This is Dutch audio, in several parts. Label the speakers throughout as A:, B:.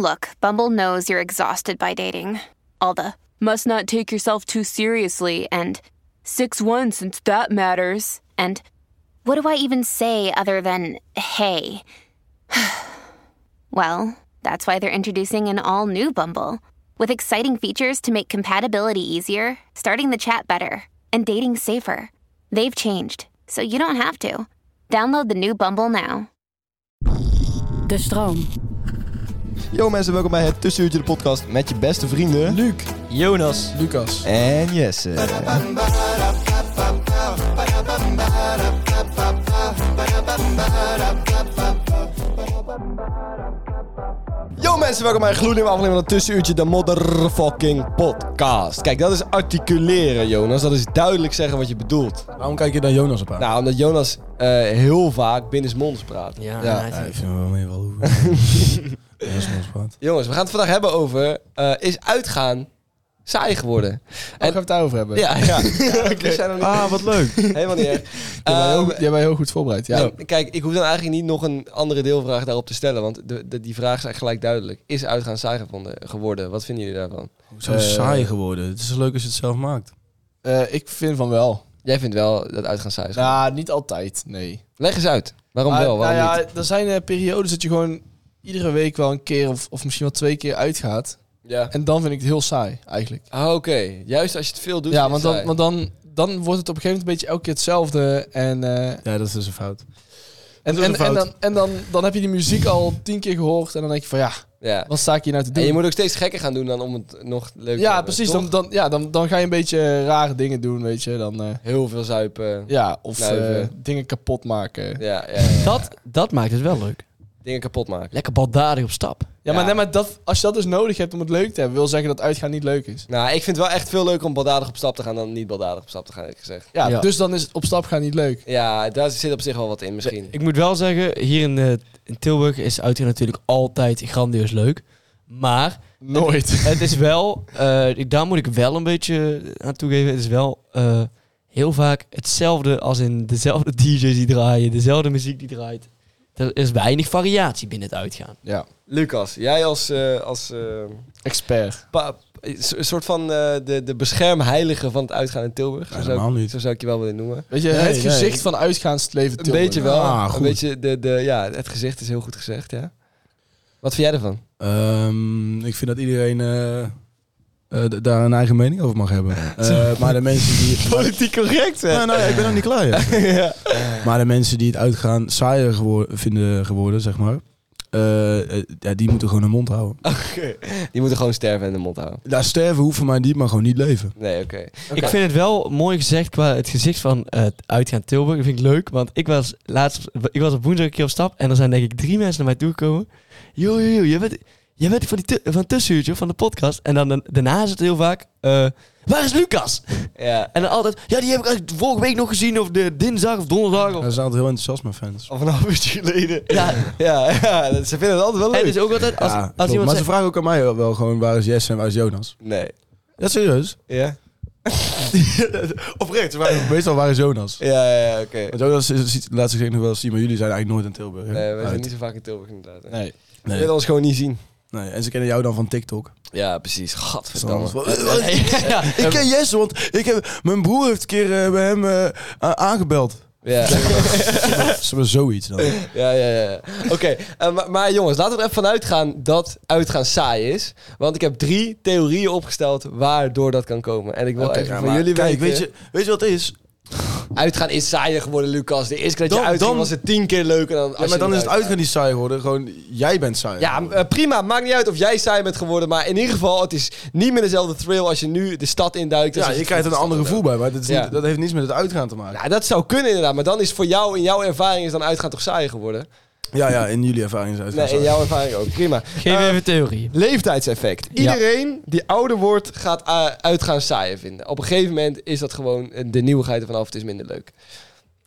A: Look, Bumble knows you're exhausted by dating. All the must not take yourself too seriously and 6 1 since that matters. And what do I even say other than hey? well, that's why they're introducing an all new Bumble with exciting features to make compatibility easier, starting the chat better, and dating safer. They've changed, so you don't have to. Download the new Bumble now.
B: De stroom.
C: Yo mensen, welkom bij het Tussenuurtje de podcast met je beste vrienden... Luc, Jonas
D: Lucas.
C: en Jesse. Yo mensen, welkom bij een gloednieuwe aflevering van het Tussenuurtje de motherfucking podcast. Kijk, dat is articuleren Jonas, dat is duidelijk zeggen wat je bedoelt.
D: Waarom kijk je dan Jonas op aan?
C: Nou, omdat Jonas eh, heel vaak binnensmonds praat.
E: Ja,
D: Ja,
E: hij-
D: ik vind wel meer wel hoe. Jonas is wat.
C: Jongens, we gaan het vandaag hebben over eh, is uitgaan saai geworden.
D: gaan we het daarover hebben?
C: Ja, ja. We zijn er niet-
D: Ah, wat leuk. Je
C: helemaal niet erg.
D: bent heel
C: Ehm,
D: goed- Jij bent heel goed voorbereid. Ja.
C: nou, kijk, ik hoef dan eigenlijk niet nog een andere deelvraag daarop te stellen, want de, de- die vraag is eigenlijk gelijk duidelijk. Is uitgaan saai gevonden, geworden? Wat vinden jullie daarvan?
D: Zo
C: eh,
D: saai geworden. Het is leuk als je het zelf maakt. Eh, ik vind van wel.
C: Jij vindt wel dat uitgaan saai is geworden.
D: Nou, niet altijd, nee.
C: Leg eens uit. Waarom
D: Maar,
C: wel, waarom
D: nou
C: niet?
D: ja, Er zijn eh, periodes dat je gewoon iedere week wel een keer of, of misschien wel twee keer uitgaat.
C: Ja.
D: En dan vind ik het heel saai, eigenlijk.
C: Ah, Oké, juist als je het veel doet.
D: ja,
C: is het
D: want, dan,
C: saai.
D: want dan, dan wordt het op een gegeven moment een beetje elke keer hetzelfde. En, ja, dat is dus een fout. En,
E: is
D: en,
E: een fout.
D: en, dan, en dan, dan heb je die muziek al tien keer gehoord. En dan denk je van ja,
C: ja.
D: wat sta ik hier nou te
C: En
D: doen?
C: je moet ook steeds gekker gaan doen dan om het nog leuk te
D: ja,
C: hebben,
D: precies.
C: toch?
D: Dan, dan, ja, dan, dan ga je een beetje rare dingen doen, weet je. Dan, eh,
C: Heel veel zuipen.
D: ja, of
C: Snuiven.
D: eh, dingen kapot maken. Ja,
C: Ja, ja, ja.
E: dat, dat maakt het wel leuk.
C: Dingen kapot maken.
E: Lekker baldadig op stap.
D: maar,
C: Ja.
D: nee, maar dat, als je dat dus nodig hebt om het leuk te hebben, wil zeggen dat uitgaan niet leuk is.
C: Nou, ik vind het wel echt veel leuker om baldadig op stap te gaan dan niet baldadig op stap te gaan, eerlijk gezegd.
D: Ja,
E: Ja.
D: dus dan is het op stap gaan niet leuk.
C: Ja, daar zit op zich wel wat in misschien.
E: Ik moet wel zeggen, hier in, eh, in Tilburg is uitgaan natuurlijk altijd grandioos leuk. Maar
D: Nooit.
E: het is wel, eh, ik- daar moet ik wel een beetje aan toegeven, het is wel eh, heel vaak hetzelfde als in dezelfde DJ's die draaien, dezelfde muziek die draait. Er is weinig variatie binnen het uitgaan.
D: ja,
C: Lucas, jij als, eh, als eh,
D: expert.
C: pa- een soort van eh, de, de beschermheilige van het uitgaan in Tilburg. zo, zou
F: helemaal
C: ik,
F: niet.
C: zo zou ik je wel willen noemen.
D: Weet je,
F: Nee,
D: het
F: nee.
D: gezicht van uitgaansleven
C: Een beetje wel.
F: Ah,
C: een
F: goed.
C: beetje de, de, ja, het gezicht is heel goed gezegd, ja. Wat vind jij ervan?
F: Ehm, ik vind dat iedereen eh, eh, d- daar een eigen mening over mag hebben. Eh, maar de mensen die...
C: Politiek correct, hè?
F: Nee, nee, ik ben nog niet klaar. ja. Maar de mensen die het uitgaan saaier gewo- vinden geworden, zeg maar... eh, eh, ja, die moeten gewoon hun mond houden.
C: Die moeten gewoon sterven en de mond houden.
F: Daar sterven hoeven mij niet, maar gewoon niet leven.
C: Nee, oké.
E: Ik vind het wel mooi gezegd qua het gezicht van eh, het uitgaan Tilburg. Dat vind ik leuk, want ik was laatst, ik was op woensdag een keer op stap en er zijn denk ik drie mensen naar mij toegekomen. Yo, yo, yo, jij bent, jij bent van, die tu- van het tussenuurtje, van de podcast. En dan da- daarna is het heel vaak, eh, waar is Lucas?
C: Ja.
E: En dan altijd, ja, die heb ik eigenlijk vorige week nog gezien of de dinsdag of donderdag. Of,
F: Daar zijn altijd heel enthousiast, mijn fans.
C: Of een half uurtje geleden.
E: ja,
C: Ja, ja, ze vinden het altijd wel
E: en
C: leuk.
E: dus ook altijd als,
F: Ja,
E: als
F: klopt.
E: iemand
F: maar ze
E: zegt,
F: vragen ook aan mij wel gewoon, waar is Jesse en waar is Jonas?
C: Nee.
F: Ja, serieus.
C: Ja?
F: Oprecht, ze vragen ook meestal waar is Jonas?
C: Ja, ja, ja, oké.
F: Want Jonas is, ziet- laat zich nog wel zien, maar jullie zijn eigenlijk nooit in Tilburg. hè?
C: Nee, wij zijn
F: Uit.
C: niet zo vaak in Tilburg inderdaad. hè.
D: Nee.
C: Je
F: Nee.
C: wil ons gewoon niet zien.
F: Nee, en ze kennen jou dan van TikTok.
C: Ja, precies. Gadverdamme.
E: ja,
F: Ik ken Jesse, want ik heb, mijn broer heeft een keer eh, bij hem eh, a- aangebeld.
C: Ja,
F: Ze hebben zoiets dan.
C: ja, ja. ja. Oké, eh, maar, maar jongens, laten we er even van uitgaan dat uitgaan saai is. Want ik heb drie theorieën opgesteld waardoor dat kan komen. En ik wil
F: Oké,
C: even
F: ja,
C: van
F: maar
C: jullie
F: kijk,
C: weten...
F: Weet je, weet je wat het is?
C: Uitgaan is saaier geworden, Lucas. De eerste keer dat je
F: Dan-
C: uitging
F: dan-
C: was het tien keer leuker dan als
F: Ja, maar
C: je
F: dan is
C: niet
F: het
C: uitgaat.
F: uitgaan niet saai geworden. Gewoon, jij bent saai.
C: Ja,
F: geworden.
C: eh, prima. Maakt niet uit of jij saai bent geworden. Maar in ieder geval, het is niet meer dezelfde thrill als je nu de stad induikt. Dus als
F: ja,
C: je-
F: je krijgt een ander gevoel bij, maar dat, is
C: Ja.
F: niet, dat heeft niets met het uitgaan te maken.
C: Ja, dat zou kunnen inderdaad. Maar dan is voor jou, in jouw ervaring, is dan uitgaan toch saai geworden.
F: Ja, ja, in jullie ervaring is
C: Nee, in jouw ervaring ook. Prima.
E: Geef
C: Eh,
E: even theorie.
C: Leeftijdseffect.
E: Ja.
C: Iedereen die ouder wordt, gaat eh, uitgaan saaien vinden. Op een gegeven moment is dat gewoon eh, de nieuwigheid ervan af. Het is minder leuk.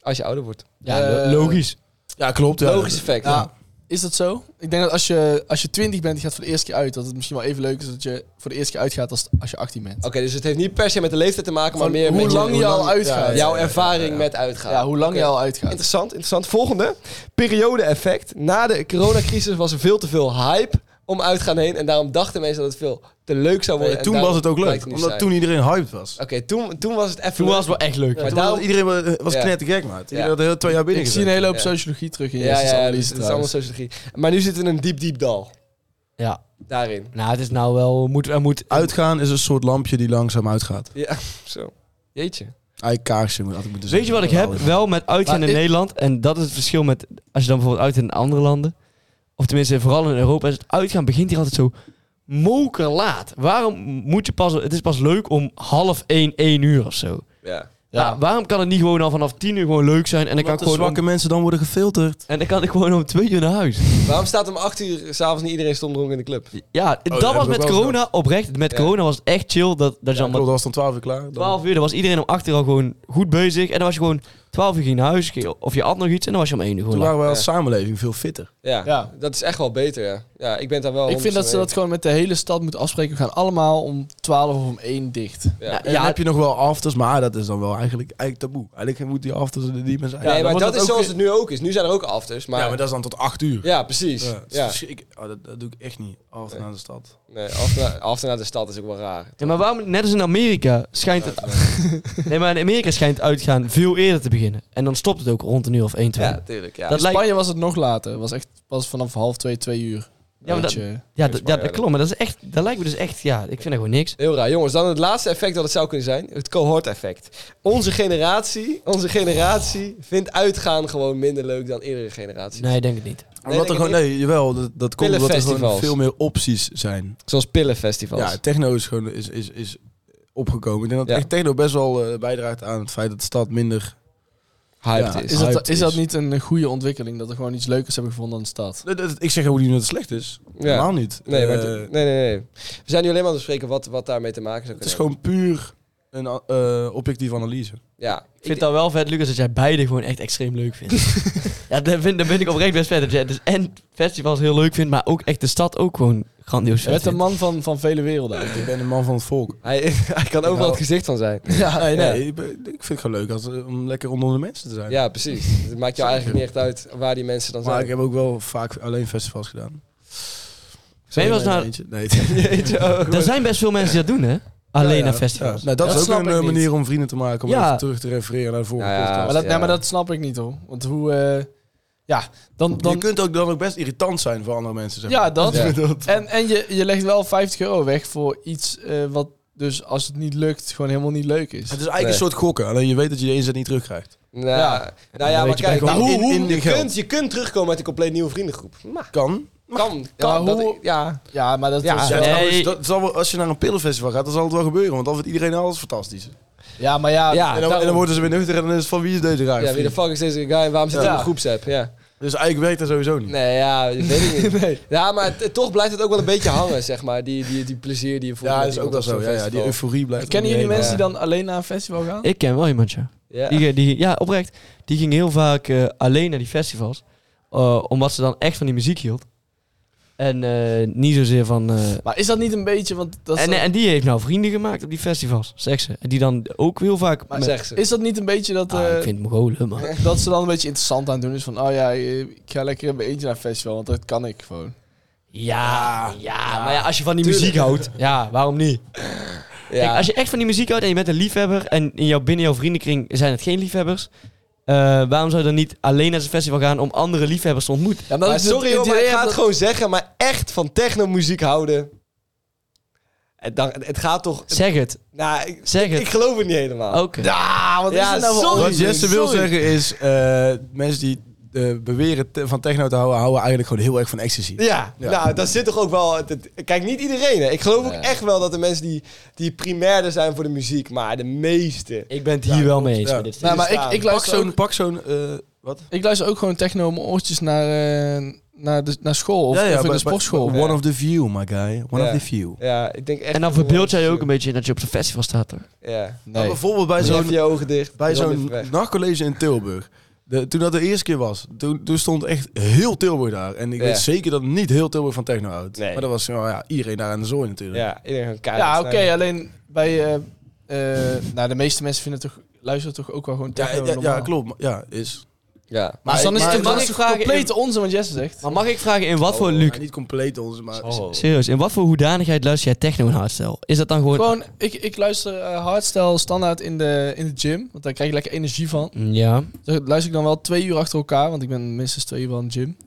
C: Als je ouder wordt.
E: Ja,
D: Eh,
E: logisch.
F: Ja, klopt. ja.
C: Logisch effect.
D: Ja.
C: Ja.
D: Is dat zo? Ik denk dat als je, als je 20 bent, je gaat voor de eerste keer uit. Dat het misschien wel even leuk is dat je voor de eerste keer uitgaat als, als je 18 bent.
C: Oké, dus het heeft niet per se met de leeftijd te maken, maar
D: Van
C: meer
D: hoe
C: met
D: lang je al uitgaat.
C: ja,
D: Ja,
C: jouw
D: ja, ja,
C: ervaring met uitgaan.
D: Ja, hoe lang je
C: Oké.
D: al uitgaat.
C: Interessant, interessant. Volgende. Periode-effect. Na de coronacrisis was er veel te veel hype om uitgaan heen. En daarom dachten mensen dat het veel te leuk zou worden.
F: Nee,
C: en
F: toen
C: daarom
F: was het ook
C: blijkt
F: leuk.
C: het niet
F: Omdat
C: te
F: toen iedereen hyped was.
C: zijn. Oké, toen, toen was het even
E: Toen
C: leuk.
E: was het wel echt leuk.
C: Ja,
E: Ja,
F: Toen
C: daarom-
F: was iedereen wa- was
C: Ja.
F: knettergek, maat. Iedereen
C: Ja.
F: had heel twee jaar binnen
D: Ik zie een hele hoop
C: Ja.
D: sociologie terug in je
C: Ja, ja, ja,
D: analyse
C: dus het is allemaal sociologie. Maar nu zitten we in een diep, diep dal. Daarin.
E: nou, het is nou wel... Moet, er moet,
F: Uitgaan is een soort lampje die langzaam uitgaat.
C: Ja, zo. Jeetje.
F: Eigenlijk kaarsje moet dus had ik moeten
E: Weet je wat ik heb? Wel met uitgaan
C: Maar
E: in
C: ik-
E: Nederland. En dat is het verschil met als je dan bijvoorbeeld uitgaat in andere landen. Of tenminste, vooral in Europa is het uitgaan begint hier altijd zo mokerlaat. Waarom moet je pas... Het is pas leuk om half één, één uur of zo.
C: Ja.
E: Ja. waarom kan het niet gewoon al vanaf tien uur gewoon leuk zijn en dan, kan
F: Dan kan
E: ik gewoon,
F: zwakke
E: om,
F: mensen dan worden gefilterd.
E: en dan kan ik gewoon om twee uur naar huis?
C: Waarom staat om 8 uur s'avonds niet iedereen stom dronken in de club?
E: Ja,
F: dat
E: dat
F: heb
E: was
F: ik
E: met
F: ook wel
E: corona oprecht. Met
C: Ja.
E: corona was het echt chill dat, dat je
F: Ja,
E: allemaal
F: klopt, dat was dan 12 uur klaar. Dan-
E: 12 uur, dan was iedereen om 8 uur al gewoon goed bezig. En dan was je gewoon 12 uur ging je naar huis ging- of je at nog iets en dan was je om 1 uur gewoon
F: Toen waren wij
C: Ja.
F: als samenleving veel fitter.
C: Ja.
D: Ja.
C: Dat is echt wel beter, ja. Ja, ik ben daar wel
D: Ik vind dat ze dat gewoon met de hele stad moeten afspreken. We gaan allemaal om 12 of om 1 dicht.
C: Ja.
E: laat.
F: En
E: ja,
F: dan heb je nog wel afters, maar dat is dan wel eigenlijk, eigenlijk taboe. Eigenlijk moet die afters er niet meer zijn.
C: nee,
D: dan
C: maar
D: wordt
C: dat
D: het
C: is
D: ook
C: zoals het
D: weer-
C: nu ook is. Nu zijn er ook afters, maar...
F: Ja, maar dat is dan tot 8 uur.
C: Ja, precies. Ja,
F: Ja, dat is verschrik- oh, dat, dat doe ik echt niet. Altijd naar de stad.
C: Nee, after, naar- after naar de stad is ook wel raar.
E: Ja, maar waarom, net als in Amerika, schijnt het... nee, maar in Amerika schijnt uitgaan veel eerder te beginnen. En dan stopt het ook rond een uur of 1, 2.
C: Ja,
E: Ja,
C: tuurlijk, ja.
E: Dat
D: In
E: lijkt-
D: Spanje was het nog later. was echt pas vanaf half 2, 2 uur.
E: Ja, maar
D: Weet
E: dat-
D: je.
E: d- ja, dat klopt. Maar dat, is echt, dat lijkt me dus echt... Ja, ik vind dat gewoon niks.
C: Heel raar. Jongens, dan het laatste effect dat het zou kunnen zijn. Het cohort-effect. Onze generatie, onze generatie vindt uitgaan gewoon minder leuk dan eerdere generaties.
E: Nee, ik denk het niet.
C: denk
F: Omdat er
C: ik
F: gewoon,
C: niet.
F: nee, jawel, dat, dat komt omdat er gewoon
C: Pillenfestivals.
F: veel meer opties zijn.
C: Zoals pillenfestivals.
F: Ja, techno is gewoon is, is, is opgekomen. Ik denk dat
C: Ja.
F: echt techno best wel eh, bijdraagt aan het feit dat de stad minder...
C: Hyped
F: Ja,
C: is.
D: Is dat,
F: Hyped
D: is dat
F: is.
D: niet een goede ontwikkeling? Dat er gewoon iets leukers hebben gevonden aan de stad?
F: Dat- dat- Ik zeg ook niet dat het slecht is.
C: Ja.
F: Helemaal niet.
C: Nee, maar
F: Eh,
C: het- nee, nee, nee. We zijn nu alleen maar aan het bespreken wat, wat daarmee te maken zou
F: het is
C: kunnen
F: gewoon puur een eh, objectieve analyse.
C: hebben. Ja,
E: Ik vind het al wel vet, Lucas, dat jij beide gewoon echt extreem leuk vindt. ja, dat vind, dat vind ik oprecht best vet. Dat jij dus en festivals heel leuk vindt, maar ook echt de stad ook gewoon
D: Je
E: grandioos vet
D: bent een
E: vindt.
D: man van, van vele werelden.
F: Ik
D: eigenlijk.
F: ben een man van het volk.
C: hij, hij kan overal het gezicht van zijn.
F: Ja, nee,
C: ja.
F: nee. Ik, ben- ik vind het gewoon leuk als, eh, om lekker onder de mensen te zijn.
C: Ja, precies. Het maakt jou eigenlijk niet echt uit waar die mensen dan
F: maar
C: zijn.
F: ik heb ook wel vaak alleen festivals gedaan.
E: Ben je wel eens
F: Nee,
E: naar-
F: eentje? Nee.
C: Jeetje, oh, goed.
E: Er zijn best veel mensen die dat doen, hè? Alleen
F: Ja,
E: naar
F: ja.
E: festivals.
F: Ja. Nou, dat
D: Ja,
F: is
D: dat snap
F: ook een
D: ik
F: eh,
D: niet.
F: manier om vrienden te maken. Om
E: Ja.
F: even terug te refereren naar de vorige
C: Nou Ja, ja.
D: Maar
F: podcast.
D: dat, nee,
C: Ja.
D: maar dat snap ik niet hoor. Want hoe. eh, ja, dan.
F: je
D: dan
F: kunt ook dan ook best irritant zijn voor andere mensen. Zeg maar.
D: ja, dat.
C: Ja.
D: En, en je, je legt wel 50 euro weg voor iets eh, wat dus als het niet lukt, gewoon helemaal niet leuk is.
F: Het is eigenlijk
C: Nee.
F: een soort gokken. Alleen je weet dat je je inzet niet terugkrijgt.
C: Nou ja,
D: Ja.
C: nou ja maar
F: weet je bij
C: kijk,
F: gewoon
C: nou,
F: in-
C: hoe-
F: in de
C: je,
F: geld.
C: kunt, je kunt terugkomen met een compleet nieuwe vriendengroep. Maar
F: Kan.
C: kan, kan.
D: maar
C: dat-
D: hoe-
C: ja.
D: Ja, maar dat
C: Ja,
D: was-
F: Ja,
E: Ah, nee.
F: trouwens, dat zal wel, als je naar een pillenfestival gaat, dan zal het wel gebeuren. Want dan vindt iedereen alles fantastisch. En
D: ja, maar ja.
C: Ja,
F: dan, en
C: Ah, daarom.
F: dan worden ze weer nuchter en dan is het van wie is deze raar?
C: Ja, wie de fuck is deze guy en waarom zit hij
D: Ja.
C: in een groepsapp? Ja.
F: Dus eigenlijk werkt dat sowieso niet.
C: Nee, ja, dat weet ik niet. Ja, maar t- toch blijft het ook wel een beetje hangen, zeg maar. Die, die, die plezier die je voelt.
F: Ja,
C: met
F: dat is ook
C: iemand
F: wel
C: op
F: zo.
C: zo'n
F: Ja, ja, die
C: festival.
F: euforie blijft.
D: Kennen jullie
F: om je heen.
D: mensen die dan alleen naar een festival gaan?
E: Ik ken wel iemand, ja.
C: Ja.
E: Die, die, ja, oprecht. Die ging heel vaak eh, alleen naar die festivals. eh, omdat ze dan echt van die muziek hield. En eh, niet zozeer van... eh,
D: Maar is dat niet een beetje, want dat is,
E: en,
D: dan-
E: en die heeft nou vrienden gemaakt op die festivals, zegt ze. En die dan ook heel vaak...
C: Maar
E: met-
C: zeg ze.
D: is dat niet een beetje dat,
E: Ah, ik
D: eh,
E: vind het Mongolen, man.
D: dat ze dan een beetje interessant aan het doen is van, oh ja, eh, ik ga lekker in mijn eentje naar een festival, want dat kan ik gewoon.
E: Ja, ja, maar ja, als je van die
C: Tuurlijk.
E: muziek houdt, ja, waarom niet?
C: Ja.
E: Kijk, als je echt van die muziek houdt en je bent een liefhebber en in jouw, binnen jouw vriendenkring zijn het geen liefhebbers, eh, waarom zou je dan niet alleen naar zo'n festival gaan om andere liefhebbers te ontmoeten?
D: Ja,
C: Maar sorry hoor, maar ik
D: gaat
C: ga het gewoon zeggen, maar echt van technomuziek houden. Het, dan, het gaat toch...
E: Zeg het,
C: nou, ik,
E: zeg het.
C: ik geloof het niet helemaal. Ah,
E: Oké.
D: wat
C: Ja,
D: is er nou voor
C: sorry.
F: Wat Jesse wil
C: Sorry.
F: zeggen is, eh, mensen die eh, beweren te- van techno te houden, houden eigenlijk gewoon heel erg van ecstasy.
C: Ja,
F: Ja.
C: nou, dat zit toch ook wel... het- het- kijk, niet iedereen. Hè. Ik geloof ook echt wel dat de mensen die, die primairder zijn voor de muziek, maar de meeste...
E: Ik ben het hier wel mee eens.
F: ja.
E: met dit
D: Nou, maar ik,
C: staan.
D: ik
F: Pak
D: luister
F: zo'n,
D: ook...
F: pak zo'n eh,
C: Wat?
D: Ik luister ook gewoon techno om oortjes naar, eh, naar, de, naar school of, of in de sportschool.
F: One of the few, my guy. One
C: Ja.
F: of the few.
C: Ja, ik denk echt...
E: En dan verbeeld jij je ook een beetje dat je op zo'n festival staat, toch?
C: Ja.
F: Maar
D: nee.
F: bijvoorbeeld bij
C: Even
F: zo'n
C: je ogen dicht.
F: bij
C: dan
F: zo'n
C: even weg.
F: nachtcollege in Tilburg. De- toen dat de eerste keer was, toen, toen stond echt heel Tilburg daar. En ik
C: Ja.
F: weet zeker dat niet heel Tilburg van techno houdt.
C: Nee.
F: Maar dat was nou ja, iedereen daar aan de zooi natuurlijk.
C: Ja, iedereen gaan kijken.
D: Ja, oké, alleen bij... eh, eh, nou, de meeste mensen vinden toch, luisteren toch ook wel gewoon
F: Ja,
D: techno
F: ja, ja,
D: normaal.
F: klopt. Maar Ja, is.
C: Ja.
D: Maar Dus dan is
E: Maar-
D: het toch-
E: mag
D: dat is
E: ik
D: toch
E: vragen-
D: complete onzin wat Jesse zegt.
E: Maar mag ik vragen, in wat
D: Oh,
E: voor, Luc,
F: Maar niet compleet onze, maar...
C: Oh.
E: serieus, in wat voor hoedanigheid luister jij techno en hardstyle? Is dat dan gewoon...
D: Gewoon, ik, ik luister eh, hardstyle standaard in de, in de gym, want daar krijg ik lekker energie van.
E: Mm, Ja, oké.
D: Dus dat luister ik dan wel twee uur achter elkaar, want ik ben minstens twee uur wel in de gym.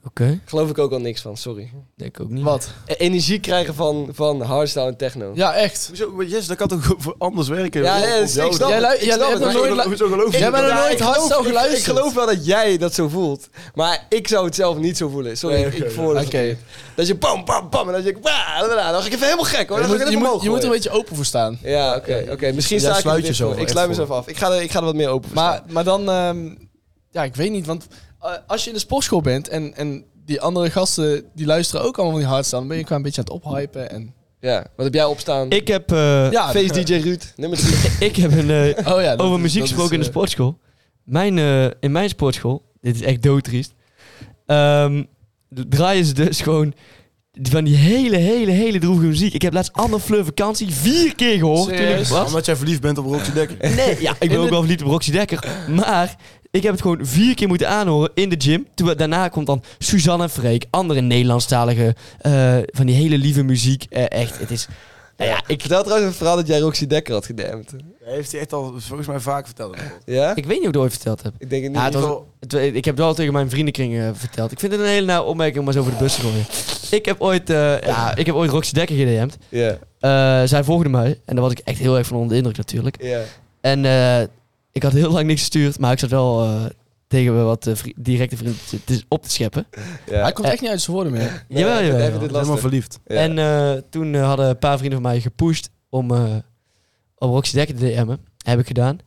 C: Geloof ik ook al niks van, sorry.
E: Denk ik ook niet.
D: Wat?
C: Eh, Energie krijgen van, van hardstyle en techno.
D: Ja, echt.
F: Hoezo? Maar Jess, dat kan toch voor anders werken?
C: Ja,
F: Of-
C: ja,
F: of
C: dus
F: jou
C: ik snap
F: dan?
D: Jij,
C: het.
D: lu-
C: Ik
D: jij
C: snap
D: hebt
C: het,
D: nog
C: maar
D: nooit...
C: ik-
D: lu-
F: Hoezo geloof je?
D: Jij bent nog nooit
C: ik geloof-
D: hardstyle
C: ik-
D: geluisterd.
C: Ik geloof wel dat jij dat zo voelt. Maar ik zou het zelf niet zo voelen. Sorry, ik- ik voel
D: Oké.
C: het. Dat je bam, bam, bam. En dan denk ik... "Wa, la, la, la." Dan ga ik even helemaal gek hoor. Dan
D: Je
C: ga ik
D: moet,
C: het
D: je,
C: omhoog
D: moet, je moet er een
C: gooien.
D: beetje open voor staan.
C: Ja, oké. oké. Misschien
F: Jij
C: sta ik er
F: sluit
C: dit
F: jezelf
C: voor. Ik
F: echt
C: sluit
F: voor.
C: mezelf af. Ik ga, er, ik ga er wat meer open voor
D: Maar, maar dan, ehm, ja, ik weet niet, want eh, als je in de sportschool bent en, en die andere gasten die luisteren ook allemaal niet hard staan, dan ben je elkaar een beetje aan het ophypen. En...
C: staan. Ja. Wat heb jij opstaan?
E: Ik heb, eh,
D: Ja,
C: Face DJ Ruud. Nummer drie.
E: ik heb een, eh,
D: Oh ja, dat
E: over
D: is-
E: muziek
D: dat is,
E: gesproken in de
D: eh,
E: sportschool. Mijn, eh, in mijn sportschool, dit is echt doodtriest, ehm, d- draaien ze dus gewoon van die hele, hele, hele droevige muziek. Ik heb laatst Anne Fleur Vakantie vier keer gehoord toen ik
D: Serieus?
E: was.
F: Omdat jij verliefd bent op Roxy Dekker.
E: Nee, ja, ik ben ook wel verliefd op Roxy Dekker. Maar ik heb het gewoon vier keer moeten aanhoren in de gym. Toen, we- daarna komt dan Suzanne en Freek, andere Nederlandstalige, eh, van die hele lieve muziek. Eh, echt, het is... Nou ja,
C: Ik vertel trouwens een verhaal dat jij Roxy Dekker had gedampt.
F: Dat heeft hij echt al volgens mij vaak verteld. Ik
C: Ja?
E: ik weet niet of ik het ooit verteld heb.
C: Ik denk het niet.
E: Ja, het was- Het- Ik heb het wel tegen mijn vriendenkring eh, verteld. Ik vind het een hele nauwe opmerking om maar zo over de bus te gooien. Ik heb ooit, eh, ja, ik heb ooit Roxy Dekker gedm'd.
C: Ja.
E: Eh, zij volgde mij. En daar was ik echt heel erg van onder de indruk natuurlijk.
C: Ja.
E: En eh, ik had heel lang niks gestuurd. Maar ik zat wel eh, tegen wat eh, vri- directe vrienden te- te- op te scheppen.
C: Ja.
D: Hij komt echt niet uit zijn woorden meer.
C: Nee,
E: jawel,
C: ik
E: jawel.
C: heb
E: jawel.
C: dit
F: ben helemaal
C: lastig.
F: verliefd.
C: Ja.
E: En eh, toen eh, hadden een paar vrienden van mij gepusht om eh op Roxy Dekker te DM'en. Heb ik gedaan.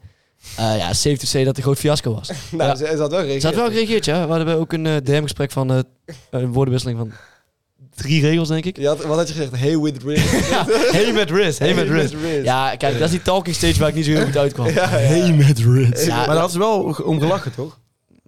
E: Eh, ja, safe to say dat het een groot fiasco was.
C: Nou, ze, ze had wel gereageerd.
E: Ze had wel gereageerd, ja. We hadden ook een eh, DM-gesprek van eh, een woordenwisseling van drie regels, denk ik.
C: Je had, wat had je gezegd? Hey with Riz.
E: Hey met Riz, hey met Riz. Ja, kijk, dat is die talking stage waar ik niet zo heel goed uitkwam. Ja,
F: Hey met Ritz.
E: Ja.
F: maar daar had ze wel om gelachen, toch?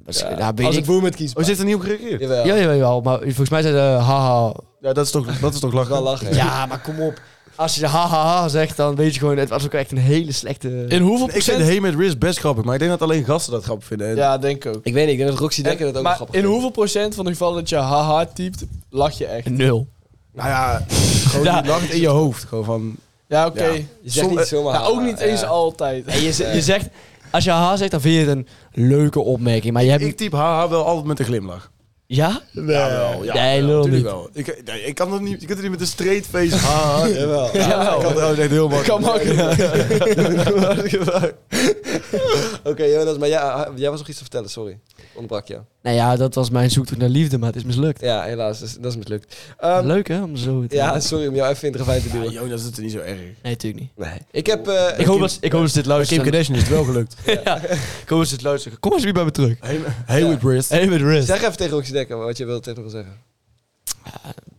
E: Dus, ja, weet
C: Als ik
E: ik.
C: boer met kies.
F: Oh, ze heeft er niet op gereageerd?
C: Jawel.
E: Ja, jawel, jawel, maar volgens mij zei ze eh, haha.
F: Ja, dat is toch, dat is toch lachen?
C: Wel lachen.
E: Ja, maar kom op. Als je de hahaha zegt, dan weet je gewoon, het was ook echt een hele slechte...
D: In hoeveel
F: Ik vind
D: procent...
F: Hey met Ritz best grappig, maar ik denk dat alleen gasten dat grappig vinden. En
D: Ja, denk ik ook.
C: Ik weet niet, ik denk dat Roxy Dekker dat ook wel
D: maar
C: grappig
D: in
C: vindt.
D: hoeveel procent van de gevallen dat je haha typt, lach je echt?
E: Nul.
F: Nou ja, gewoon
E: Ja.
F: die lacht in je hoofd. Gewoon van...
D: Ja, oké.
F: Ja.
C: Je zegt niet zomaar.
D: Nou, ook
C: haha,
D: niet
C: ja.
D: eens altijd.
E: En je, je zegt, als je haha zegt, dan vind je het een leuke opmerking. Maar je hebt...
F: Ik typ haha wel altijd met een glimlach.
E: ja?
F: Nee, jawel, ja,
E: Nee, lul
F: tuurlijk
E: niet.
F: wel. Ik, nee, ik kan dat niet, je kunt het niet met een straight face haha. Ik
C: Ah, Jawel.
F: kan het ook echt heel makkelijk.
D: Kan makkelijk.
C: Oké, Jonas, maar jij, jij was nog iets te vertellen, sorry. Onderbrak jou.
E: Nou ja, dat was mijn zoektocht naar liefde, maar het is mislukt.
C: Ja, helaas, dus dat is, dat is mislukt. Ehm,
E: Leuk hè, om zo te
C: ja, sorry om jou even in het ravijn te
F: Ja,
C: duwen.
F: Jonas doet het niet zo erg.
E: Nee, natuurlijk niet.
C: Nee. Ik heb... eh,
E: Ik hoop, dat, ik hoop dat ze dit
F: Kim
E: luisteren.
F: Kardashian is het wel gelukt.
E: ja. Ik hoop dat ze dit luisteren. Kom alsjeblieft bij me terug.
F: Hey with Ritz.
E: Hey met Riz.
C: Zeg even tegen Roxy Dekker wat je wilt tegen haar zeggen.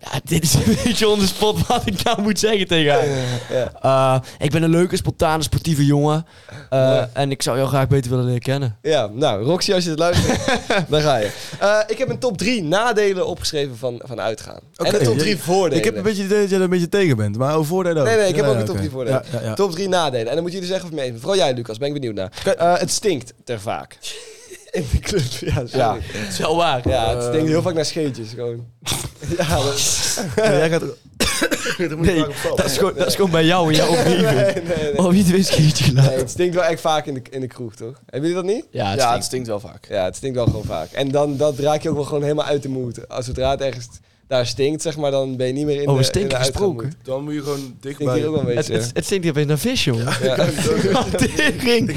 E: Ja, dit is een beetje on the spot wat ik nou moet zeggen tegen haar. Eh, ik ben een leuke, spontane, sportieve jongen. Eh, En ik zou jou graag beter willen leren kennen.
C: Ja, nou, Roxy, als je het luistert, daar ga je. Eh, ik heb een top 3 nadelen opgeschreven van, van uitgaan.
F: Oké.
C: En een top 3
F: Ik-
C: voordelen.
F: Ik heb een beetje het idee dat jij er een beetje tegen bent, maar over voordelen ook.
C: Nee, nee, ik heb ook een top
F: oké.
C: 3 voordelen.
F: Oh, Ja, ja, ja.
C: Top 3 nadelen. En dan moeten jullie zeggen of je het mee eens bent. Vooral jij, Lucas, ben ik benieuwd naar. Eh, het stinkt ter vaak. In de club, ja,
D: Ja.
C: sorry.
E: Dat is wel waar.
C: Ja, het stinkt heel vaak naar scheetjes gewoon. ja, dat...
F: Ja, jij gaat... Dat moet je
E: Nee,
F: vaak op stap.
E: dat is gewoon, dat is gewoon bij jou in jouw omgeving.
C: Nee, nee, nee.
E: Oh, wie het wist, keertje
C: Nee,
E: gelaten.
C: het stinkt wel echt vaak in de, in de kroeg, toch? Hebben jullie dat niet?
E: Ja, het
D: Ja, het
E: stinkt.
D: stinkt wel vaak.
C: Ja, het stinkt wel gewoon vaak. En dan dat raak je ook wel gewoon helemaal uit de moed. Als zodra het ergens daar stinkt, zeg maar, dan ben je niet meer in
E: Over
C: de
E: stinken
C: in de
E: gesproken.
C: uitgaanmoed.
F: Dan moet je gewoon
C: Stinkt
F: dichtbij...
C: hier ook wel een
E: Het,
C: beetje.
E: het, het stinkt hier opeens naar vis, jongen.
C: ja.
E: Tering.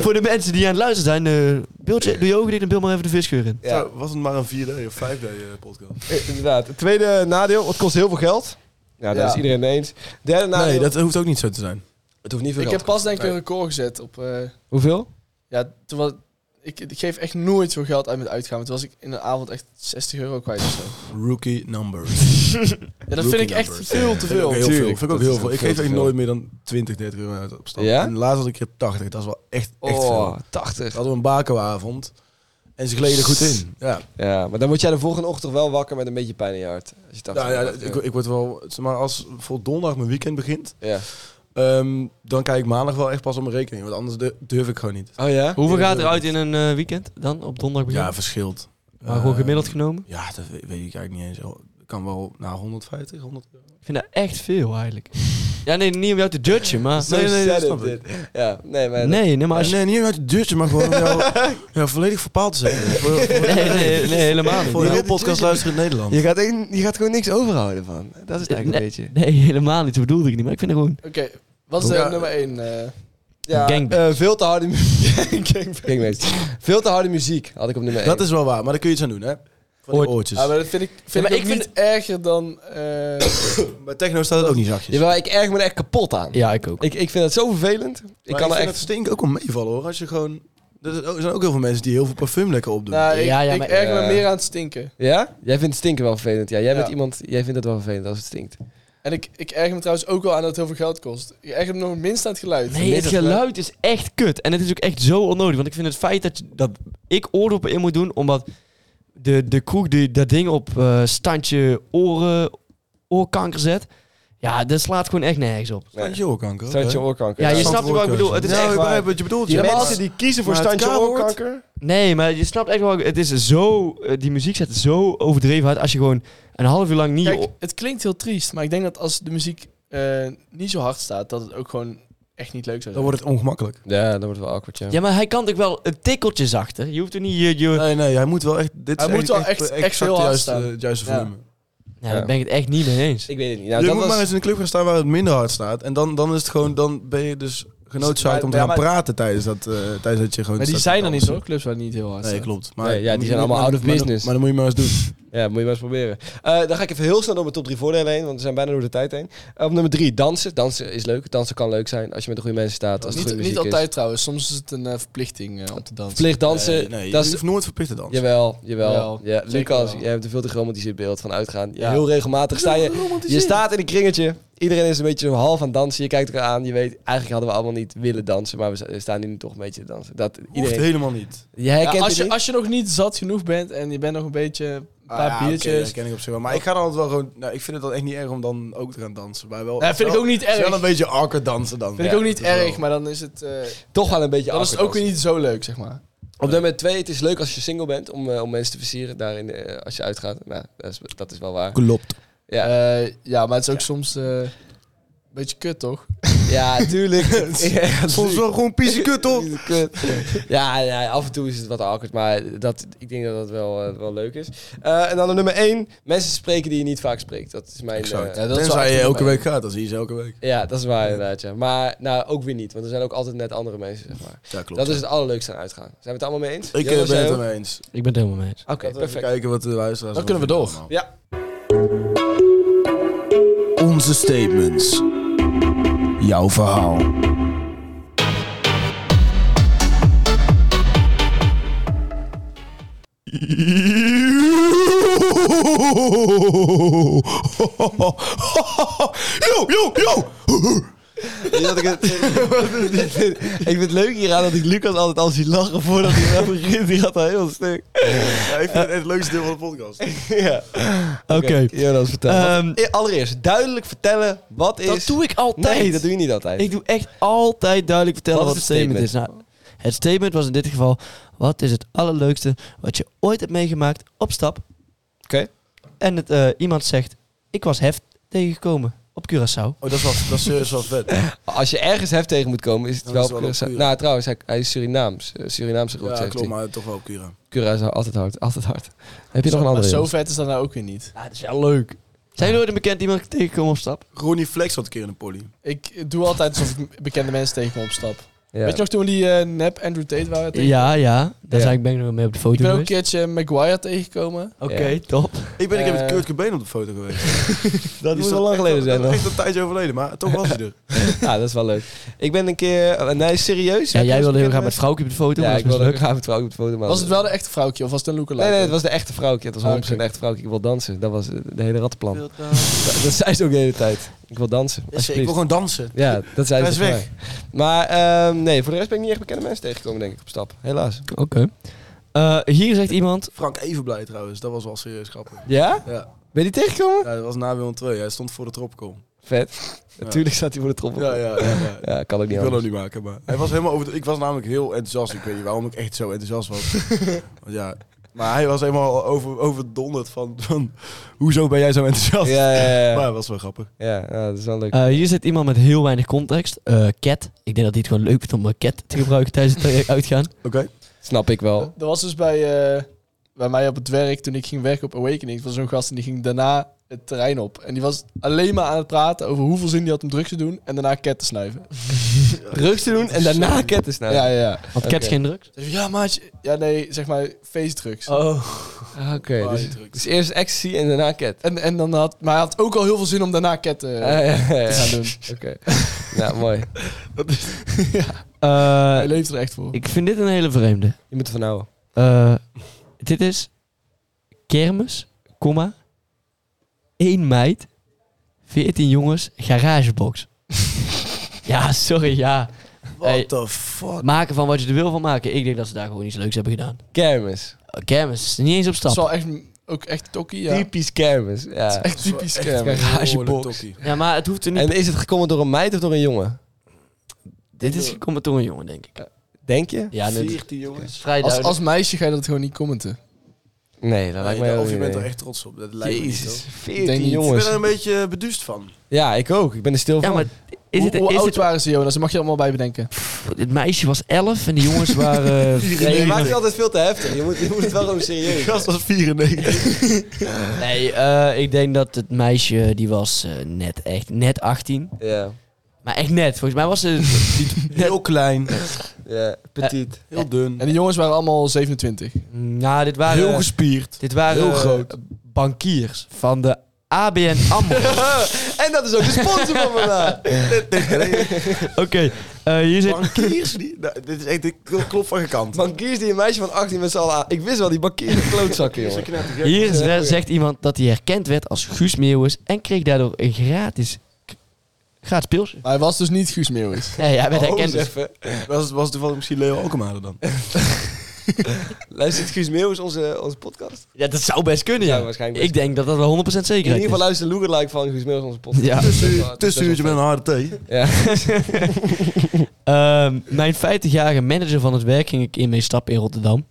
E: Voor de mensen die aan het luisteren zijn, eh Biltje, doe je ogen dicht en bil maar even de visgeur in.
C: Ja,
F: Zo, was het maar een 4D of 5D eh, podcast?
C: eh, inderdaad. Het tweede nadeel, het kost heel veel geld. Ja, daar
D: Ja.
C: is iedereen het eens. Derde nadeel,
F: Nee, dat hoeft ook niet zo te zijn.
C: Nou, het hoeft niet veel
D: Ik
C: geld.
D: heb pas denk ik een record gezet op... eh,
C: Hoeveel?
D: ja, toen was, ik, ik geef echt nooit veel geld uit met uitgaan. Want toen was ik in een avond echt 60 euro kwijt of zo.
F: Rookie numbers.
D: Ja, dat vind ik echt
F: numbers.
D: veel te veel.
F: Ook heel veel.
C: Tuurlijk,
F: Vind ik
C: dat
F: ook
C: is
F: heel
C: ook
F: veel. Ik
C: veel
F: geef
C: te
F: echt
C: veel.
F: nooit meer dan 20, 30 euro uit op stap.
C: Ja?
F: En laatst had ik er 80. Dat is wel echt, echt
C: Oh,
F: veel.
C: 80.
F: Hadden we een bakoavond. En ze gleden goed in. Ja.
C: Ja, maar dan word jij de volgende ochtend wel wakker met een beetje pijn in je hart. Als je 80
F: Ja, ja,
C: bent.
F: ik, ik word wel... zeg Maar als voor donderdag mijn weekend begint...
C: Ja.
F: ehm, dan kijk ik maandag wel echt pas op mijn rekening. Want anders du- durf ik gewoon niet.
C: Oh ja?
E: Hoeveel
F: Ja,
E: gaat
F: dat
E: eruit
F: weet
E: in een eh, weekend dan? Op donderdag begin?
F: Ja, verschilt.
E: maar gewoon
F: Eh,
E: gemiddeld genomen?
F: Ja, dat weet, weet ik eigenlijk niet eens. Ik kan wel naar 150, 100 euro.
E: Ik vind dat echt veel eigenlijk. ja, nee, niet om jou te judgen, maar...
C: nee, nee,
F: dat
C: nee,
F: snap
C: dit- dit. Ja, nee, maar...
E: Nee, nee, maar als je...
F: Nee, niet uit het deurtje, maar gewoon om jou, jou volledig verpaald te zetten. Voor- voor-
E: Nee, nee, nee, helemaal niet.
F: Voor de
C: Je
F: hele
C: bent-
F: podcast luisteren in Nederland.
C: Je gaat, een- je gaat gewoon niks overhouden van. Dat is het eigenlijk een beetje.
E: Nee, helemaal niet. Dat bedoelde ik niet, maar ik vind het gewoon...
D: Oké, wat is eh,
F: Ja.
D: nummer 1? eh
C: Ja,
E: Gangbang.
C: eh, veel te harde muziek. Veel te harde muziek had ik op nummer 1.
F: Dat is wel waar, maar daar kun je iets aan doen, hè? Van die
E: Oort-
F: oortjes.
D: ah, maar dat vind ik, vind
C: maar
D: ik, ook
C: ik vind-
D: niet erger dan... eh,
F: Bij techno staat het ook niet zachtjes.
C: Jawel, ik erg me er echt kapot aan.
E: Ja, ik ook.
C: Ik, ik vind dat zo vervelend. ik kan
F: ik
C: er
F: vind
C: echt...
F: het stinken ook wel meevallen, hoor. Als je gewoon... Er zijn ook- er zijn ook heel veel mensen die heel veel parfum lekker opdoen.
D: nou, ik,
E: Ja, ja,
D: ik
E: maar-
D: erger me
C: Ja.
D: meer aan het stinken.
C: Ja? Jij vindt stinken wel vervelend. Ja, jij
D: Ja.
C: bent iemand... Jij vindt dat wel vervelend als het stinkt.
D: En ik, ik erger me trouwens ook wel aan dat het heel veel geld kost. Ik erger me nog het minst aan het geluid.
E: Nee, het
D: Minst aan
E: geluid is echt kut. En het is ook echt zo onnodig. Want ik vind het feit dat, je- dat ik oordoppen in moet doen, omdat de, de kroeg die dat ding op eh, standje oren, oorkanker zet, ja, dat slaat gewoon echt nergens op.
F: Standje oorkanker.
C: Standje
F: oké.
C: oorkanker.
E: Ja, je
F: Standje
E: snapt ook wat ik
F: oorkanker.
E: bedoel. Het is
F: Ja,
E: echt
F: ik
E: waar.
F: begrijp wat je bedoelt.
C: Die
F: ja, maar-
C: mensen die kiezen voor
F: maar het
C: standje
F: K-woord-
C: oorkanker...
E: Nee, maar je snapt echt wel, het is zo, eh, die muziek zet zo overdreven uit als je gewoon een half uur lang niet...
D: Kijk,
E: o-
D: het klinkt heel triest, maar ik denk dat als de muziek eh, niet zo hard staat, dat het ook gewoon echt niet leuk zou
F: Dan
D: zijn.
F: wordt het ongemakkelijk.
C: Ja, dat wordt wel awkward, ja.
E: ja, maar hij kan toch wel een tikkeltje zachter? Je hoeft er niet je... je
F: Nee, nee, hij moet wel echt... Dit
D: Hij
F: is
D: moet wel echt- echt
F: exact
D: heel
F: de
D: hard
F: juiste-
D: staan.
F: het juiste
D: Ja.
F: volume.
E: Ja, daar ben ik het echt niet mee eens.
C: Ik weet het niet. Nou,
F: je
C: dat
F: moet
C: was...
F: maar eens in een club gaan staan waar het minder hard staat. En dan, dan is het gewoon, dan ben je dus genoodzaakt om te
C: Ja,
F: gaan
C: maar-
F: praten tijdens dat, eh, tijdens dat je gewoon.
D: Maar die
F: staat te
D: zijn er niet
F: dansen.
D: zo, clubs waar het niet heel hard
F: Nee,
D: staat.
F: klopt. Maar
C: Nee, ja, die
F: maar-
C: zijn allemaal
F: maar-
C: out of
F: maar-
C: business.
F: Maar, dan moet je maar eens doen.
C: Ja, moet je maar eens proberen. Eh, dan ga ik even heel snel door mijn top 3 voordelen heen, want we zijn bijna door de tijd heen. Eh, op nummer 3, dansen. Dansen is leuk. Dansen kan leuk zijn als je met de goede mensen staat, als het
D: Niet,
C: goede
D: niet
C: muziek
D: altijd
C: is.
D: trouwens, soms is het een eh, verplichting eh, om te dansen.
C: Verplicht dansen,
F: nee, nee,
C: dat
F: je
C: is...
F: hoeft nooit verplicht te dansen.
C: Jawel, jawel.
D: Jawel,
C: ja,
D: zeker
C: Lucas,
D: wel.
C: jij hebt een veel te romantisch beeld van uitgaan.
D: Ja.
C: Heel regelmatig sta je... Je staat in een kringetje. Iedereen is een beetje zo half aan het dansen. Je kijkt elkaar aan. Je weet, eigenlijk hadden we allemaal niet willen dansen, maar we sta- staan hier nu toch een beetje te dansen. Dat
F: Hoeft
C: iedereen...
F: helemaal niet.
C: Je herkent
D: Ja, als,
C: het
D: je,
C: niet?
D: als je nog niet zat genoeg bent en je bent nog een beetje een paar
F: Ah, ja, oké,
D: biertjes.
F: dat ken ik op zich wel. Maar ik ga dan altijd wel gewoon. Nou, ik vind het dan echt niet erg om dan ook te gaan dansen. Maar wel.
D: Nee, vind ik ook niet
F: het is
D: erg.
F: Wel een beetje awkward dansen dan.
D: Vind ik
F: Ja,
D: ook niet
F: dat is wel-
D: erg, maar dan is het, eh,
C: Toch wel een beetje
D: dan is het
C: awkward
D: ook weer niet zo leuk, zeg maar.
C: Op nummer twee, het is leuk als je single bent om, eh, om mensen te versieren daarin eh, als je uitgaat. Nou, dat is, dat is wel waar.
F: Klopt.
C: Ja,
D: Eh, ja, maar het is ook soms eh, een beetje kut, toch?
C: ja tuurlijk. Ja,
F: Soms wel gewoon pisse kut op.
C: Kut. ja, ja, af en toe is het wat awkward, maar dat, ik denk dat dat wel, eh, wel leuk is. Eh, en dan op nummer één, mensen spreken die je niet vaak spreekt. Dat is mijn...
F: Exact.
C: eh,
D: Ja, dat is wel
F: Tenzij je
D: echt
F: elke
D: een-
F: week gaat, dan zie je ze elke week.
C: ja, dat is waar inderdaad, ja. Maar nou, ook weer niet, want er zijn ook altijd net andere mensen, zeg maar.
F: Ja, klopt.
C: dat is het allerleukste aan uitgaan. Zijn we het allemaal mee eens?
F: Ik eh,
C: Jonas,
F: ben
C: jij
F: het
C: ook?
F: ermee eens.
E: Ik ben het helemaal mee eens.
C: Oké,
F: Laten we even
C: perfect.
F: kijken wat de luisteraars.
D: Dan kunnen we
F: ervan
D: door.
F: vinden
C: Ja,
F: allemaal. Onze statements. Jouw verhaal. Yo, yo, yo!
C: dat ik, het, ik vind het leuk hieraan dat ik Lucas altijd al zie lachen voordat hij aan begint. Die gaat al heel stuk.
F: Ja, ik vind het het leukste deel van de podcast.
C: ja.
E: Oké.
C: Jonas, vertel.
E: Ehm,
C: Wat- e- allereerst, duidelijk vertellen wat is...
E: Dat doe ik altijd.
C: Nee, dat doe je niet altijd.
E: Ik doe echt altijd duidelijk vertellen
C: Wat
E: wat,
C: is
E: het
C: het
E: statement, is. Nou, het statement was in dit geval: wat is het allerleukste wat je ooit hebt meegemaakt op stap?
C: Oké.
E: En het, eh, iemand zegt: ik was heft tegengekomen op Curaçao.
F: Oh, dat is wel, dat is serieus wel vet.
C: Als je ergens heft tegen moet komen, is het
F: Dan
C: wel...
F: is het wel
C: Curaçao.
F: op Cura.
C: Nou, trouwens, hij, hij is Surinaams. Eh, Surinaamse groep,
F: Ja,
C: zegt
F: klopt,
C: hij.
F: maar toch wel Cura.
C: Curaçao, altijd hard. Altijd hard. Heb je nog een
D: Maar
C: andere?
D: zo
C: Jonas?
D: vet is dat nou ook weer niet.
E: dat is wel leuk. Zijn jullie ooit een bekend iemand tegengekomen op stap?
F: Ronnie Flex had een keer in de poly.
D: Ik doe altijd alsof ik bekende mensen tegen me opstap.
G: Ja.
D: Weet je nog toen we die eh, nep Andrew Tate waren? tegen-
E: Ja, ja. Daar
G: Ja.
E: zijn ik ben ik nog mee op de foto
D: Ik ben ook een
E: geweest.
D: keertje Maguire tegengekomen.
E: Oké,
G: Ja.
E: top.
F: Ik ben een keer met
D: Eh.
F: Kurt Cobain op de foto geweest.
C: Dat
F: Die
C: moet
F: is
C: wel lang geleden zijn.
F: Dat
C: dan.
F: is echt een tijdje overleden, maar toch was hij er.
C: Ja, dat is wel leuk. Ik ben een keer... eh, Nee, serieus?
E: Ja, dus
C: Heb je
E: jij
C: eens
E: wilde heel
C: bekend
E: graag met
C: geweest?
E: vrouwtje op de foto.
C: Ja,
E: maar
C: ik
E: dat
C: wilde
E: is
C: ook
E: mislukt.
C: graag met vrouwen op de foto. maar-
D: Was het wel een echte vrouwtje of was het een lookalike?
C: Nee, nee, het was de echte vrouwtje. Het was
D: Ah,
C: 100%
D: oké.
C: een echte vrouwtje. Ik wil dansen. Dat was eh, de hele rattenplan. Dat, dat zei ze ook de hele tijd. Ik wil dansen.
F: Ik wil
C: alsjeblieft.
F: gewoon dansen.
C: Ja, dat zei
F: Hij
C: ze.
F: is
C: tegen
F: weg.
C: mij. Maar ehm, nee, voor de rest ben ik niet echt bekende mensen tegengekomen, denk ik, op stap. Helaas.
E: Oké. Eh, hier zegt iemand...
F: Frank Evenblij trouwens, dat was wel serieus grappig.
C: Ja?
F: Ja,
C: Ben je die tegengekomen?
F: ja dat was na Willem 2. Hij stond voor de tropical.
C: Vet.
F: Ja.
C: Natuurlijk staat hij voor de trommel.
F: Ja,
C: Ja,
F: ja, ja. ja.
C: kan ook niet
F: Ik wil hem
C: anders.
F: niet maken, maar... Hij was helemaal over de- Ik was namelijk heel enthousiast. Ik weet niet waarom ik echt zo enthousiast was. Want ja, maar hij was helemaal over, overdonderd van, van... Hoezo ben jij zo enthousiast?
C: Ja, ja, ja.
F: Maar
C: ja.
F: het was wel grappig.
C: Ja, ja, dat is wel leuk.
E: eh, hier zit iemand met heel weinig context. Eh cat. Ik denk dat hij het gewoon leuk vindt om een cat te gebruiken tijdens het traject uitgaan.
F: Oké.
C: Snap ik wel.
D: Dat was dus bij, eh, bij mij op het werk toen ik ging werken op Awakening. Het was zo'n gast en die ging daarna het terrein op. En die was alleen maar aan het praten over hoeveel zin die had om drugs te doen en daarna cat te snuiven.
C: Rug te doen en daarna ketten snijden.
D: Ja, ja, ja.
E: Want cat is geen drugs.
D: Dus ja, maatje. Ja, nee, zeg maar feestdrugs.
C: Oh. Ah, Oké,
F: Ah,
C: dus,
F: die drugs.
C: dus eerst ecstasy en daarna ket.
D: En, en dan had, maar hij had ook al heel veel zin om daarna eh, cat te
C: Ah, ja, ja, ja.
D: te gaan doen.
C: Oké. Nou, mooi.
E: Eh,
D: Hij leeft er echt voor.
E: ik vind dit een hele vreemde.
C: Je moet ervan houden.
E: Eh, dit is kermis, komma, één meid, 14 jongens, garagebox. ja, sorry, ja.
F: What
E: Hey.
F: the fuck?
E: Maken van wat je er wil van maken. Ik denk dat ze daar gewoon iets leuks hebben gedaan.
C: Kermis.
E: Eh, Kermis, niet eens op
D: Dat is
E: stap.
D: wel echt, ook echt tokkie, ja.
C: Typisch kermis. Ja.
D: Echt typisch
F: Echt
D: kermis.
F: een
C: Garagebox.
F: behoorlijk tokkie.
E: Ja, maar het hoeft er niet.
C: En is het gekomen door een meid of door een jongen?
E: dit is gekomen door een jongen, denk ik.
C: Denk je?
E: Ja, dit is
F: 14 jongens.
E: vrij
D: Als,
E: duidelijk.
D: als meisje ga je dat gewoon niet commenten.
C: Nee, dat
F: Nee,
C: lijkt mij
F: of
C: ook
F: je
C: niet,
F: bent er
C: nee.
F: echt trots op. Dat lijkt me niet,
C: Jezus,
F: hoor.
C: 14
D: Denk niet.
F: Ik ben
C: jongens.
F: er een beetje eh, beduust van.
C: Ja, ik ook. Ik ben er stil van.
E: ja, maar is
D: Hoe,
E: het,
D: hoe
E: is
D: oud
E: het,
D: waren ze, Jonas? Daar mag je allemaal bij bedenken.
E: het meisje was 11 en de jongens waren... eh,
C: Nee, je
E: vrij-
C: maakt het altijd veel te heftig. Je moet, je moet het wel gewoon serieus.
F: gast was 94.
E: Nee, eh, ik denk dat het meisje, die was eh, net echt, net 18.
C: Ja.
E: Maar echt net, volgens mij was ze... die- net,
F: Heel klein,
C: Ja, petit.
F: heel dun,
D: En de jongens waren allemaal 27.
E: nou, dit waren...
F: heel gespierd.
E: dit waren
F: heel groot.
E: eh, bankiers van de ABN AMRO.
C: en dat is ook de sponsor van vandaag.
E: Oké, eh, hier zit...
F: Bankiers? die- Nou, dit is echt, dit klopt van gekant.
C: Bankiers die een meisje van 18 met z'n allen aan- Ik wist wel, die bankiers zijn klootzakken, jongen.
E: Hier z- zegt iemand dat hij herkend werd als Guus Meeuwis en kreeg daardoor een gratis... k- Gratis pils.
D: Maar hij was dus niet Guus Meeuwis.
E: Nee, hij werd
C: Oh,
E: herkend. dus-
C: even.
F: Was, was toevallig misschien Leo Alkemade dan?
C: Luistert Guus Meeuwis onze, onze podcast?
E: Ja, dat zou best kunnen, ja.
C: Ja, waarschijnlijk
E: Ik denk dat dat wel 100%
C: In ieder
E: zeker
C: geval
E: is.
C: luistert Lookalike van Guus Meeuwis onze podcast.
E: Ja.
F: Tussenuurtje met een harde thee.
C: Ja.
E: Ehm, mijn 50-jarige manager van het werk ging ik in mee stappen in Rotterdam.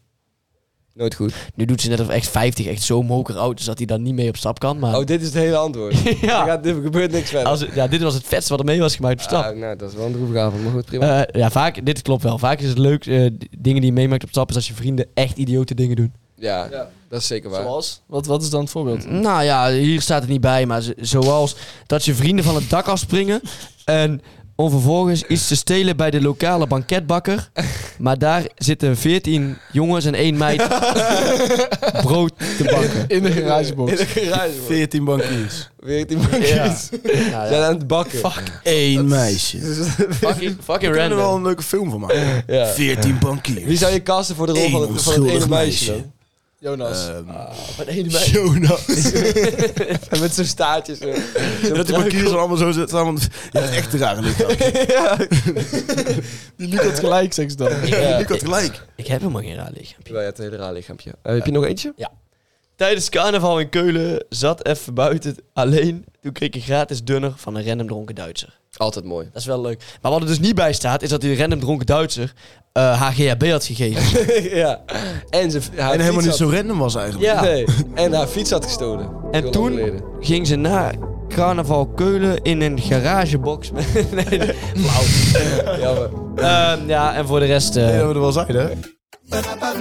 C: Nooit goed.
E: Nu doet ze net of echt 50 echt zo moker oud is dat hij dan niet mee op stap kan. Maar
C: Oh, dit is het hele antwoord. Er
E: Ah. ja,
C: gaat- Er gebeurt niks verder.
E: als, ja, dit was het vetste wat er mee was gemaakt op stap.
C: Ah, nou, dat is wel een droevige avond, maar goed, prima.
E: Eh, ja, vaak, dit klopt wel. Vaak is het leuk, eh, d- dingen die je meemaakt op stap, is als je vrienden echt idiote dingen doen.
C: ja,
D: ja.
C: dat is zeker waar.
D: Zoals? Wat, wat is dan het voorbeeld?
E: Nou ja, hier staat het niet bij, maar z- zoals dat je vrienden van het dak afspringen en om vervolgens iets te stelen bij de lokale banketbakker. Maar daar zitten 14 jongens en één meid brood te bakken.
D: In de garagebox.
C: In de garage, man.
F: 14 bankiers.
C: Weer die bankiers.
E: Nou ja.
C: Zijn aan het bakken.
F: Eén meisje.
E: Fucking,
F: We
E: fucking
F: kunnen er wel
E: random.
F: een leuke film van maken.
C: Ja.
F: 14 bankiers.
C: Wie zou je casten voor de rol
F: Eén
C: van het, van het ene
F: onschuldig
C: meisje?
F: meisje. nou.
C: dan?
D: Jonas.
F: Ehm,
C: Van het ene meisje.
F: Jonas.
C: En met zo'n staartjes. zo. Zo'n
F: Dat de bankiers dan allemaal zo zitten. allemaal- Ja, dat is echt raar.
C: ja.
D: Die Luc had gelijk, zeg ze dan.
C: Ja.
F: Ik had gelijk.
E: Ik heb helemaal geen raar lichaam.
C: Wel, ja, het hele raar lichaampje. Eh, heb je nog eentje?
E: Tijdens carnaval in Keulen zat even buiten alleen. Toen kreeg ik een gratis dunner van een random dronken Duitser.
C: Altijd mooi.
E: Dat is wel leuk. Maar wat er dus niet bij staat, is dat die random dronken Duitser eh HGHB had gegeven.
C: ja. En, ze, haar
F: En helemaal niet
C: fiets
F: zo
C: had-
F: random was eigenlijk.
E: Ja.
C: Nee. En haar fiets had gestolen. Heel
E: En
C: lang
E: toen
C: geleden.
E: ging ze na carnaval Keulen in een garagebox. met- nee, nee, flauw.
C: Jammer.
E: Ehm, ja, en voor de rest... eh,
F: Nee, dat we er wel zijn, hè?